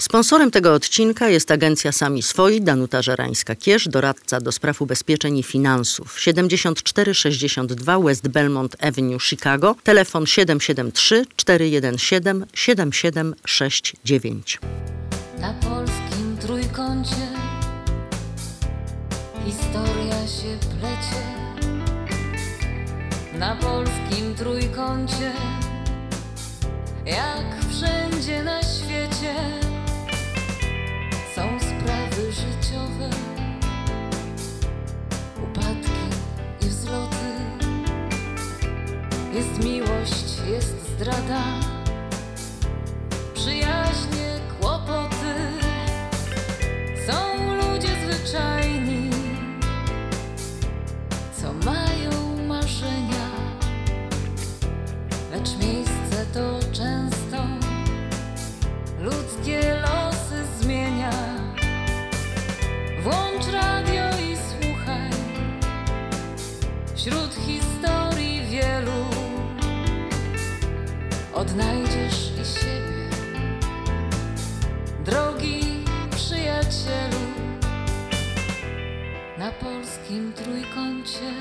Sponsorem tego odcinka jest agencja Sami Swoi, Danuta Żerańska-Kierz, doradca do spraw ubezpieczeń i finansów. 7462 West Belmont Avenue, Chicago, telefon 773 417 7769. Na polskim trójkącie historia się plecie. Na polskim trójkącie, jak wszędzie na świecie, są sprawy życiowe, upadki i wzloty. Jest miłość, jest zdrada przyjaźnie, kłopoty. Są ludzie zwyczajni, co mają marzenia, lecz miejsce to często ludzkie losy zmienia. Włącz radio i słuchaj wśród historii wielu. Odnajdziesz i siebie. Drogi przyjacielu, na polskim trójkącie.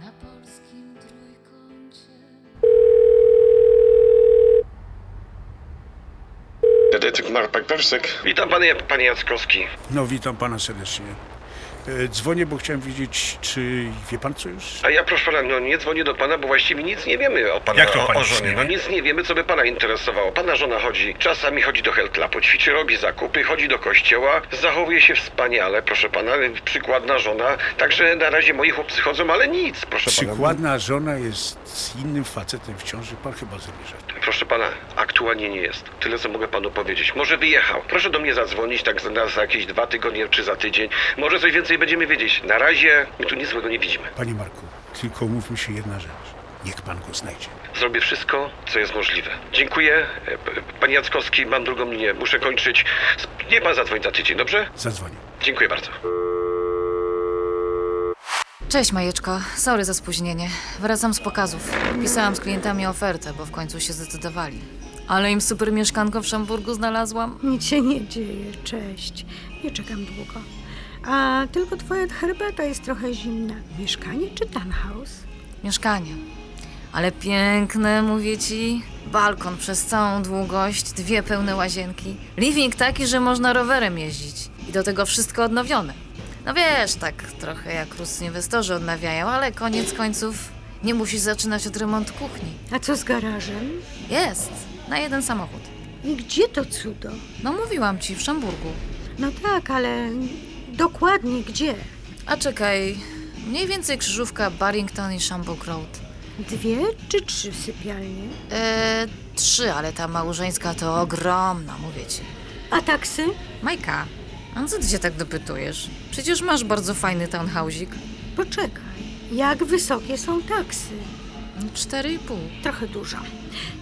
Na polskim trójkącie. Detetyw Marpak Persek. Witam panie, panie Jackowski. No, witam pana serdecznie. E, Dzwonię, bo chciałem wiedzieć, czy wie pan co już? A ja proszę pana, no nie dzwonię do pana, bo właściwie nic nie wiemy o pana Jak to o o, pani o nic żonie. nie No wie? nic nie wiemy, co by pana interesowało. Pana żona chodzi, czasami chodzi do heltlapu, ćwiczy, robi zakupy, chodzi do kościoła, zachowuje się wspaniale, proszę pana, przykładna żona. Także na razie moi chłopcy chodzą, ale nic, proszę pana. Przykładna żona jest z innym facetem w ciąży, pan chyba zamierza. Proszę pana, aktualnie nie jest. Tyle, co mogę panu powiedzieć. Może wyjechał. Proszę do mnie zadzwonić tak za, za jakieś dwa tygodnie czy za tydzień. Może coś więcej będziemy wiedzieć. Na razie my tu nic złego nie widzimy. Panie Marku, tylko umówmy się jedna rzecz. Niech pan go znajdzie. Zrobię wszystko, co jest możliwe. Dziękuję. E, p- Panie Jackowski, mam drugą linię, muszę kończyć. Sp- Nie pan zadzwoń za tydzień, dobrze? Zadzwonię. Dziękuję bardzo. Cześć Majeczko, sorry za spóźnienie. Wracam z pokazów. Pisałam z klientami ofertę, bo w końcu się zdecydowali. Ale im super mieszkanko w Szamburgu znalazłam. Nic się nie dzieje, cześć. Nie czekam długo. A tylko twoja herbata jest trochę zimna. Mieszkanie czy townhouse? Mieszkanie. Ale piękne, mówię ci. Balkon przez całą długość, dwie pełne łazienki. Living taki, że można rowerem jeździć. I do tego wszystko odnowione. No wiesz, tak trochę jak ruscy inwestorzy odnawiają, ale koniec końców nie musisz zaczynać od remontu kuchni. A co z garażem? Jest, na jeden samochód. I gdzie to cudo? No mówiłam ci, w Szamburgu. No tak, ale dokładnie gdzie? A czekaj, mniej więcej krzyżówka Barrington i Shambuck Road. Dwie czy trzy sypialnie? E, trzy, ale ta małżeńska to ogromna, mówię ci. A taksy? Majka, a co ty się tak dopytujesz? Przecież masz bardzo fajny townhouse'ik. Poczekaj. Jak wysokie są taksy? No, Cztery i pół. Trochę dużo.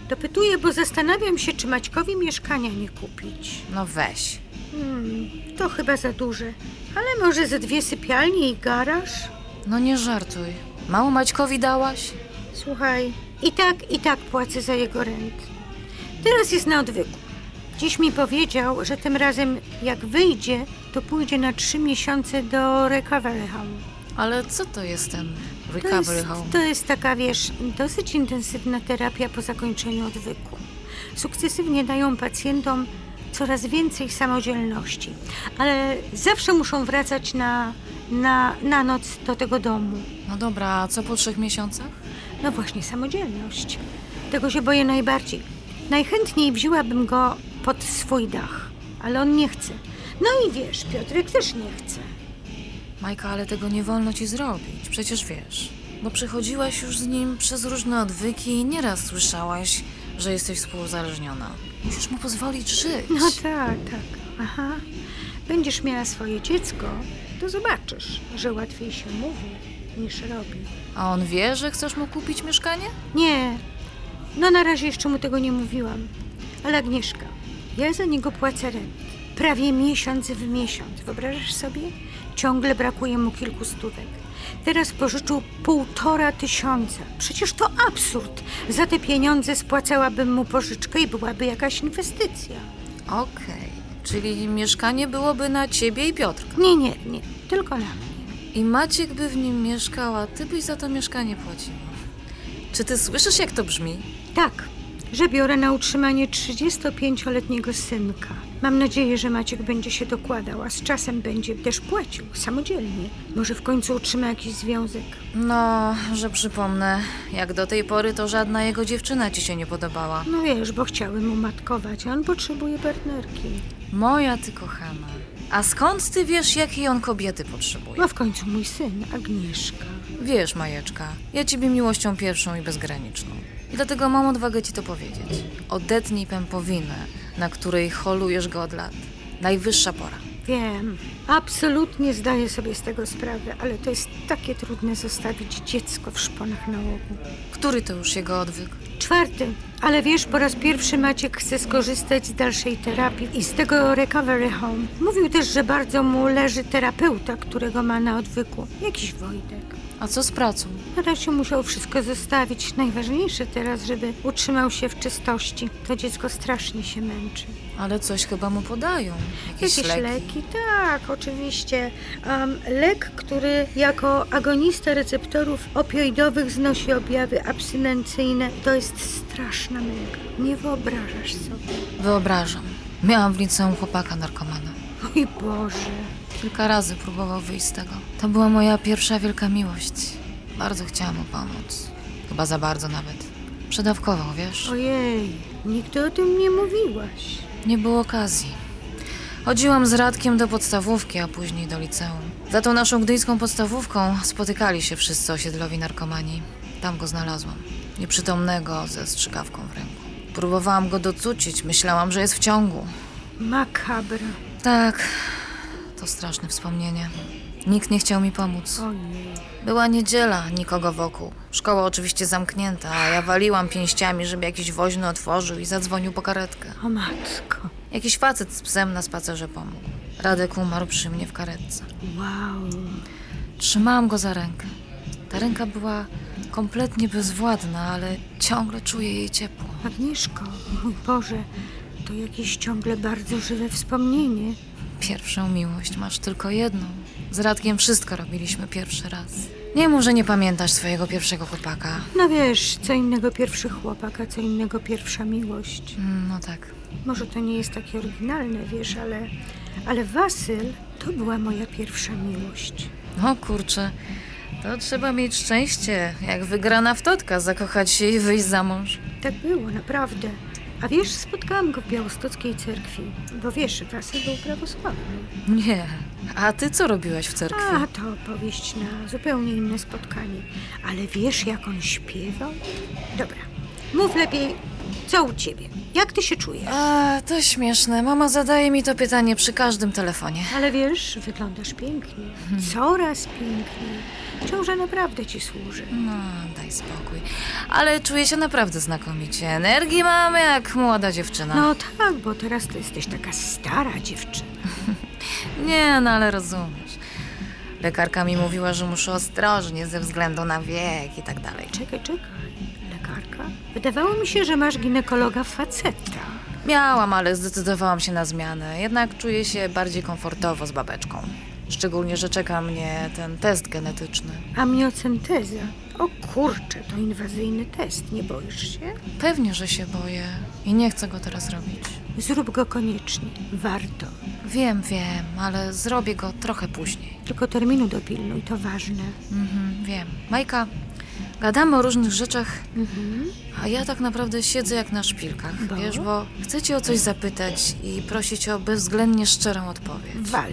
Dopytuję, bo zastanawiam się, czy Maćkowi mieszkania nie kupić. No weź. Hmm, to chyba za duże. Ale może ze dwie sypialnie i garaż? No nie żartuj. Mało Maćkowi dałaś? Słuchaj, i tak, i tak płacę za jego rent. Teraz jest na odwyku. Dziś mi powiedział, że tym razem jak wyjdzie, to pójdzie na trzy miesiące do recovery home. Ale co to jest ten To recovery jest, home? to jest taka, wiesz, dosyć intensywna terapia po zakończeniu odwyku. Sukcesywnie dają pacjentom coraz więcej samodzielności, ale zawsze muszą wracać na, na, na noc do tego domu. No dobra, a co po trzech miesiącach? No właśnie, samodzielność. Tego się boję najbardziej. Najchętniej wzięłabym go pod swój dach, ale on nie chce. No i wiesz, Piotrek też nie chce. Majka, ale tego nie wolno ci zrobić, przecież wiesz. Bo przechodziłaś już z nim przez różne odwyki i nieraz słyszałaś, że jesteś współuzależniona. Musisz mu pozwolić żyć. No tak, tak. Aha. Będziesz miała swoje dziecko, to zobaczysz, że łatwiej się mówi niż robi. A on wie, że chcesz mu kupić mieszkanie? Nie, no na razie jeszcze mu tego nie mówiłam. Ale Agnieszka, ja za niego płacę rent. Prawie miesiąc w miesiąc, wyobrażasz sobie? Ciągle brakuje mu kilku stówek. Teraz pożyczył półtora tysiąca. Przecież to absurd. Za te pieniądze spłacałabym mu pożyczkę i byłaby jakaś inwestycja. Okej, czyli mieszkanie byłoby na ciebie i Piotrka. Nie, nie, nie. Tylko na mnie. I Maciek by w nim mieszkał, a ty byś za to mieszkanie płaciła. Czy ty słyszysz, jak to brzmi? Tak, że biorę na utrzymanie 35-letniego synka. Mam nadzieję, że Maciek będzie się dokładał, a z czasem będzie też płacił samodzielnie. Może w końcu utrzyma jakiś związek. No, że przypomnę, jak do tej pory to żadna jego dziewczyna ci się nie podobała. No wiesz, bo chciałem umatkować, a on potrzebuje partnerki. Moja ty kochana. A skąd ty wiesz, jakiej on kobiety potrzebuje? No w końcu mój syn, Agnieszka. Wiesz, Majeczka, ja ciebie miłością pierwszą i bezgraniczną. I dlatego mam odwagę ci to powiedzieć. Odetnij pępowinę, na której holujesz go od lat. Najwyższa pora. Wiem, absolutnie zdaję sobie z tego sprawę, ale to jest takie trudne zostawić dziecko w szponach nałogu. Który to już jego odwyk? Czwarty, ale wiesz, po raz pierwszy Maciek chce skorzystać z dalszej terapii i z tego recovery home. Mówił też, że bardzo mu leży terapeuta, którego ma na odwyku, jakiś Wojtek. A co z pracą? Na razie musiał wszystko zostawić. Najważniejsze teraz, żeby utrzymał się w czystości. To dziecko strasznie się męczy. Ale coś chyba mu podają. Jakieś, Jakieś leki. leki, tak, oczywiście. Em, lek, który jako agonista receptorów opioidowych znosi objawy abstynencyjne, to jest straszna męka. Nie wyobrażasz sobie. Wyobrażam. Miałam w liceum chłopaka narkomana. Mój Boże. Kilka razy próbował wyjść z tego. To była moja pierwsza wielka miłość. Bardzo chciałam mu pomóc. Chyba za bardzo nawet. Przedawkował, wiesz? Ojej, nigdy o tym nie mówiłaś. Nie było okazji. Chodziłam z Radkiem do podstawówki, a później do liceum. Za tą naszą gdyńską podstawówką spotykali się wszyscy osiedlowi narkomani. Tam go znalazłam. Nieprzytomnego, ze strzykawką w ręku. Próbowałam go docucić, myślałam, że jest w ciągu. Makabra. Tak, to straszne wspomnienie. Nikt nie chciał mi pomóc. Ojej. Była niedziela, nikogo wokół. Szkoła oczywiście zamknięta, a ja waliłam pięściami, żeby jakiś woźny otworzył i zadzwonił po karetkę. O matko. Jakiś facet z psem na spacerze pomógł. Radek umarł przy mnie w karetce. Wow. Trzymałam go za rękę. Ta ręka była kompletnie bezwładna, ale ciągle czuję jej ciepło. Agnieszko, mój Boże, to jakieś ciągle bardzo żywe wspomnienie. Pierwszą miłość masz tylko jedną. Z Radkiem wszystko robiliśmy pierwszy raz. Nie mów, że nie pamiętasz swojego pierwszego chłopaka. No wiesz, co innego pierwszy chłopak, a co innego pierwsza miłość. Mm, No tak. Może to nie jest takie oryginalne, wiesz, ale, ale Wasyl to była moja pierwsza miłość. No kurczę, to trzeba mieć szczęście, jak wygrana w totka, zakochać się i wyjść za mąż. Tak było, naprawdę. A wiesz, spotkałam go w białostockiej cerkwi, bo wiesz, Wasyl był prawosławny. Nie. A ty co robiłaś w cerkwi? A, to opowieść na zupełnie inne spotkanie. Ale wiesz, jak on śpiewał? Dobra, mów lepiej, co u ciebie? Jak ty się czujesz? A, to śmieszne. Mama zadaje mi to pytanie przy każdym telefonie. Ale wiesz, wyglądasz pięknie. Hmm. Coraz piękniej. Ciąża naprawdę ci służy. No, daj spokój. Ale czuję się naprawdę znakomicie. Energii mam jak młoda dziewczyna. No tak, bo teraz to jesteś taka stara dziewczyna. Nie, no ale rozumiesz. Lekarka mi mówiła, że muszę ostrożnie ze względu na wiek i tak dalej. Czekaj, czekaj. Lekarka? Wydawało mi się, że masz ginekologa faceta. Miałam, ale zdecydowałam się na zmianę. Jednak czuję się bardziej komfortowo z babeczką. Szczególnie, że czeka mnie ten test genetyczny. Amniocenteza. O kurczę, to inwazyjny test. Nie boisz się? Pewnie, że się boję i nie chcę go teraz robić. Zrób go koniecznie. Warto. Wiem, wiem, ale zrobię go trochę później. Tylko terminu dopilnuj, to ważne. Mhm, wiem. Majka, gadamy o różnych rzeczach, a ja tak naprawdę siedzę jak na szpilkach, Bo? wiesz, bo chcę cię o coś zapytać i prosić o bezwzględnie szczerą odpowiedź. Wal.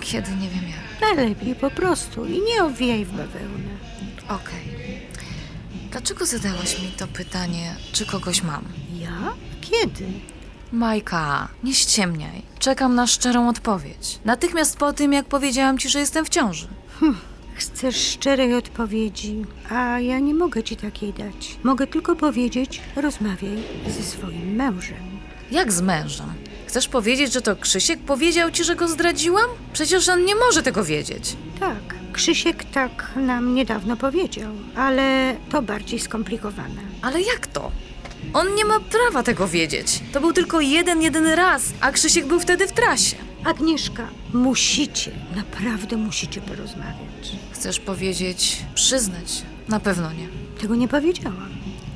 Kiedy nie wiem jak. Najlepiej po prostu i nie owijaj w bawełnę. Okej. Dlaczego zadałaś mi to pytanie, czy kogoś mam? Ja? Kiedy? Majka, nie ściemniaj. Czekam na szczerą odpowiedź. Natychmiast po tym, jak powiedziałam ci, że jestem w ciąży. Chcesz szczerej odpowiedzi, a ja nie mogę ci takiej dać. Mogę tylko powiedzieć, rozmawiaj ze swoim mężem. Jak z mężem? Chcesz powiedzieć, że to Krzysiek powiedział ci, że go zdradziłam? Przecież on nie może tego wiedzieć. Tak, Krzysiek tak nam niedawno powiedział, ale to bardziej skomplikowane. Ale jak to? On nie ma prawa tego wiedzieć. To był tylko jeden, jedyny raz, a Krzysiek był wtedy w trasie. Agnieszka, musicie, naprawdę musicie porozmawiać. Chcesz powiedzieć, przyznać się? Na pewno nie. Tego nie powiedziałam.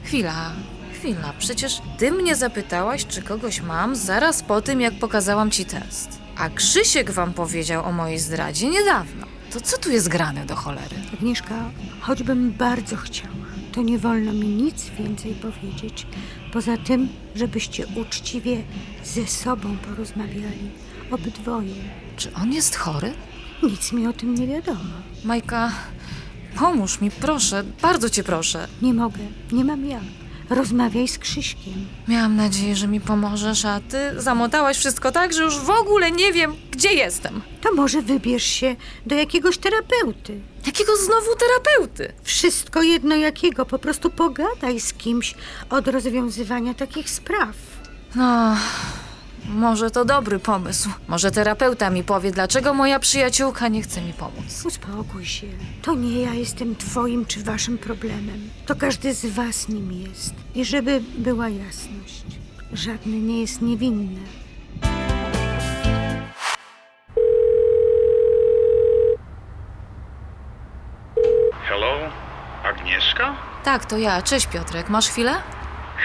Chwila, chwila, przecież ty mnie zapytałaś, czy kogoś mam zaraz po tym, jak pokazałam ci test. A Krzysiek wam powiedział o mojej zdradzie niedawno. To co tu jest grane do cholery? Agnieszka, choćbym bardzo chciała, to nie wolno mi nic więcej powiedzieć, poza tym, żebyście uczciwie ze sobą porozmawiali, obydwoje. Czy on jest chory? Nic mi o tym nie wiadomo. Majka, pomóż mi, proszę, bardzo cię proszę. Nie mogę, nie mam jak. Rozmawiaj z Krzyśkiem. Miałam nadzieję, że mi pomożesz, a ty zamotałaś wszystko tak, że już w ogóle nie wiem, gdzie jestem. To może wybierz się do jakiegoś terapeuty. Jakiego znowu terapeuty? Wszystko jedno jakiego, po prostu pogadaj z kimś od rozwiązywania takich spraw. No, może to dobry pomysł. Może terapeuta mi powie, dlaczego moja przyjaciółka nie chce mi pomóc. Uspokój się. To nie ja jestem twoim czy waszym problemem. To każdy z was nim jest. I żeby była jasność, żadny nie jest niewinny. Hello? Agnieszka? Tak, to ja. Cześć Piotrek, masz chwilę?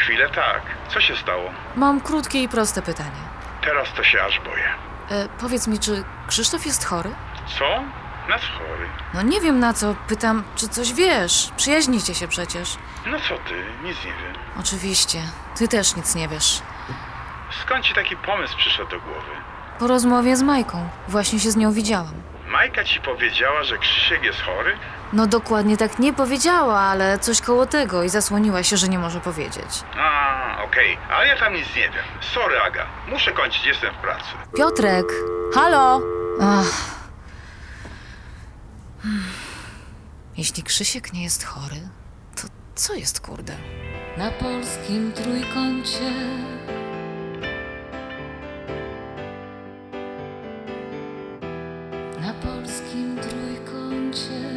Chwilę tak. Co się stało? Mam krótkie i proste pytanie. Teraz to się aż boję. E, powiedz mi, czy Krzysztof jest chory? Co? Nas chory. No nie wiem na co, pytam, czy coś wiesz? Przyjaźnicie się przecież. No co ty? Nic nie wiem. Oczywiście, ty też nic nie wiesz. Skąd ci taki pomysł przyszedł do głowy? Po rozmowie z Majką, właśnie się z nią widziałam. Majka ci powiedziała, że Krzysiek jest chory? No dokładnie tak nie powiedziała, ale coś koło tego i zasłoniła się, że nie może powiedzieć. A, okej, ale ja tam nic nie wiem. Sorry, Aga. Muszę kończyć, jestem w pracy. Piotrek, halo! Ach. Hmm. Jeśli Krzysiek nie jest chory, to co jest kurde? na polskim trójkącie. Na polskim trójkącie.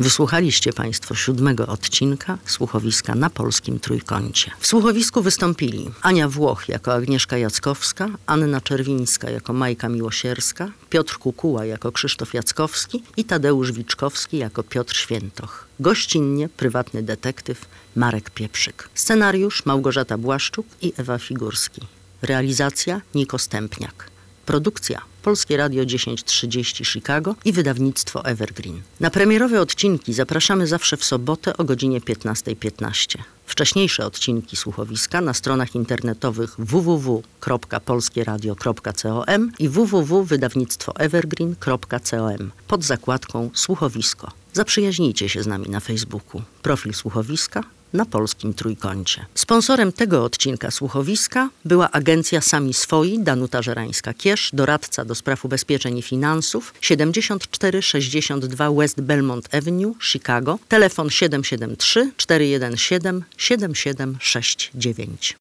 Wysłuchaliście Państwo siódmego odcinka słuchowiska na polskim trójkącie. W słuchowisku wystąpili Ania Włoch jako Agnieszka Jackowska, Anna Czerwińska jako Majka Miłosierska, Piotr Kukuła jako Krzysztof Jackowski i Tadeusz Wiczkowski jako Piotr Świętoch. Gościnnie prywatny detektyw Marek Pieprzyk. Scenariusz Małgorzata Błaszczuk i Ewa Figurski. Realizacja Niko Stępniak. Produkcja Polskie Radio 1030 Chicago i wydawnictwo Evergreen. Na premierowe odcinki zapraszamy zawsze w sobotę o godzinie 15.15. Wcześniejsze odcinki słuchowiska na stronach internetowych www.polskieradio.com i www.wydawnictwoevergreen.com pod zakładką Słuchowisko. Zaprzyjaźnijcie się z nami na Facebooku. Profil Słuchowiska na polskim trójkącie. Sponsorem tego odcinka słuchowiska była agencja Sami Swoi Danuta Żerańska-Kiesz, doradca do spraw ubezpieczeń i finansów 7462 West Belmont Avenue, Chicago, telefon 773 417 7769.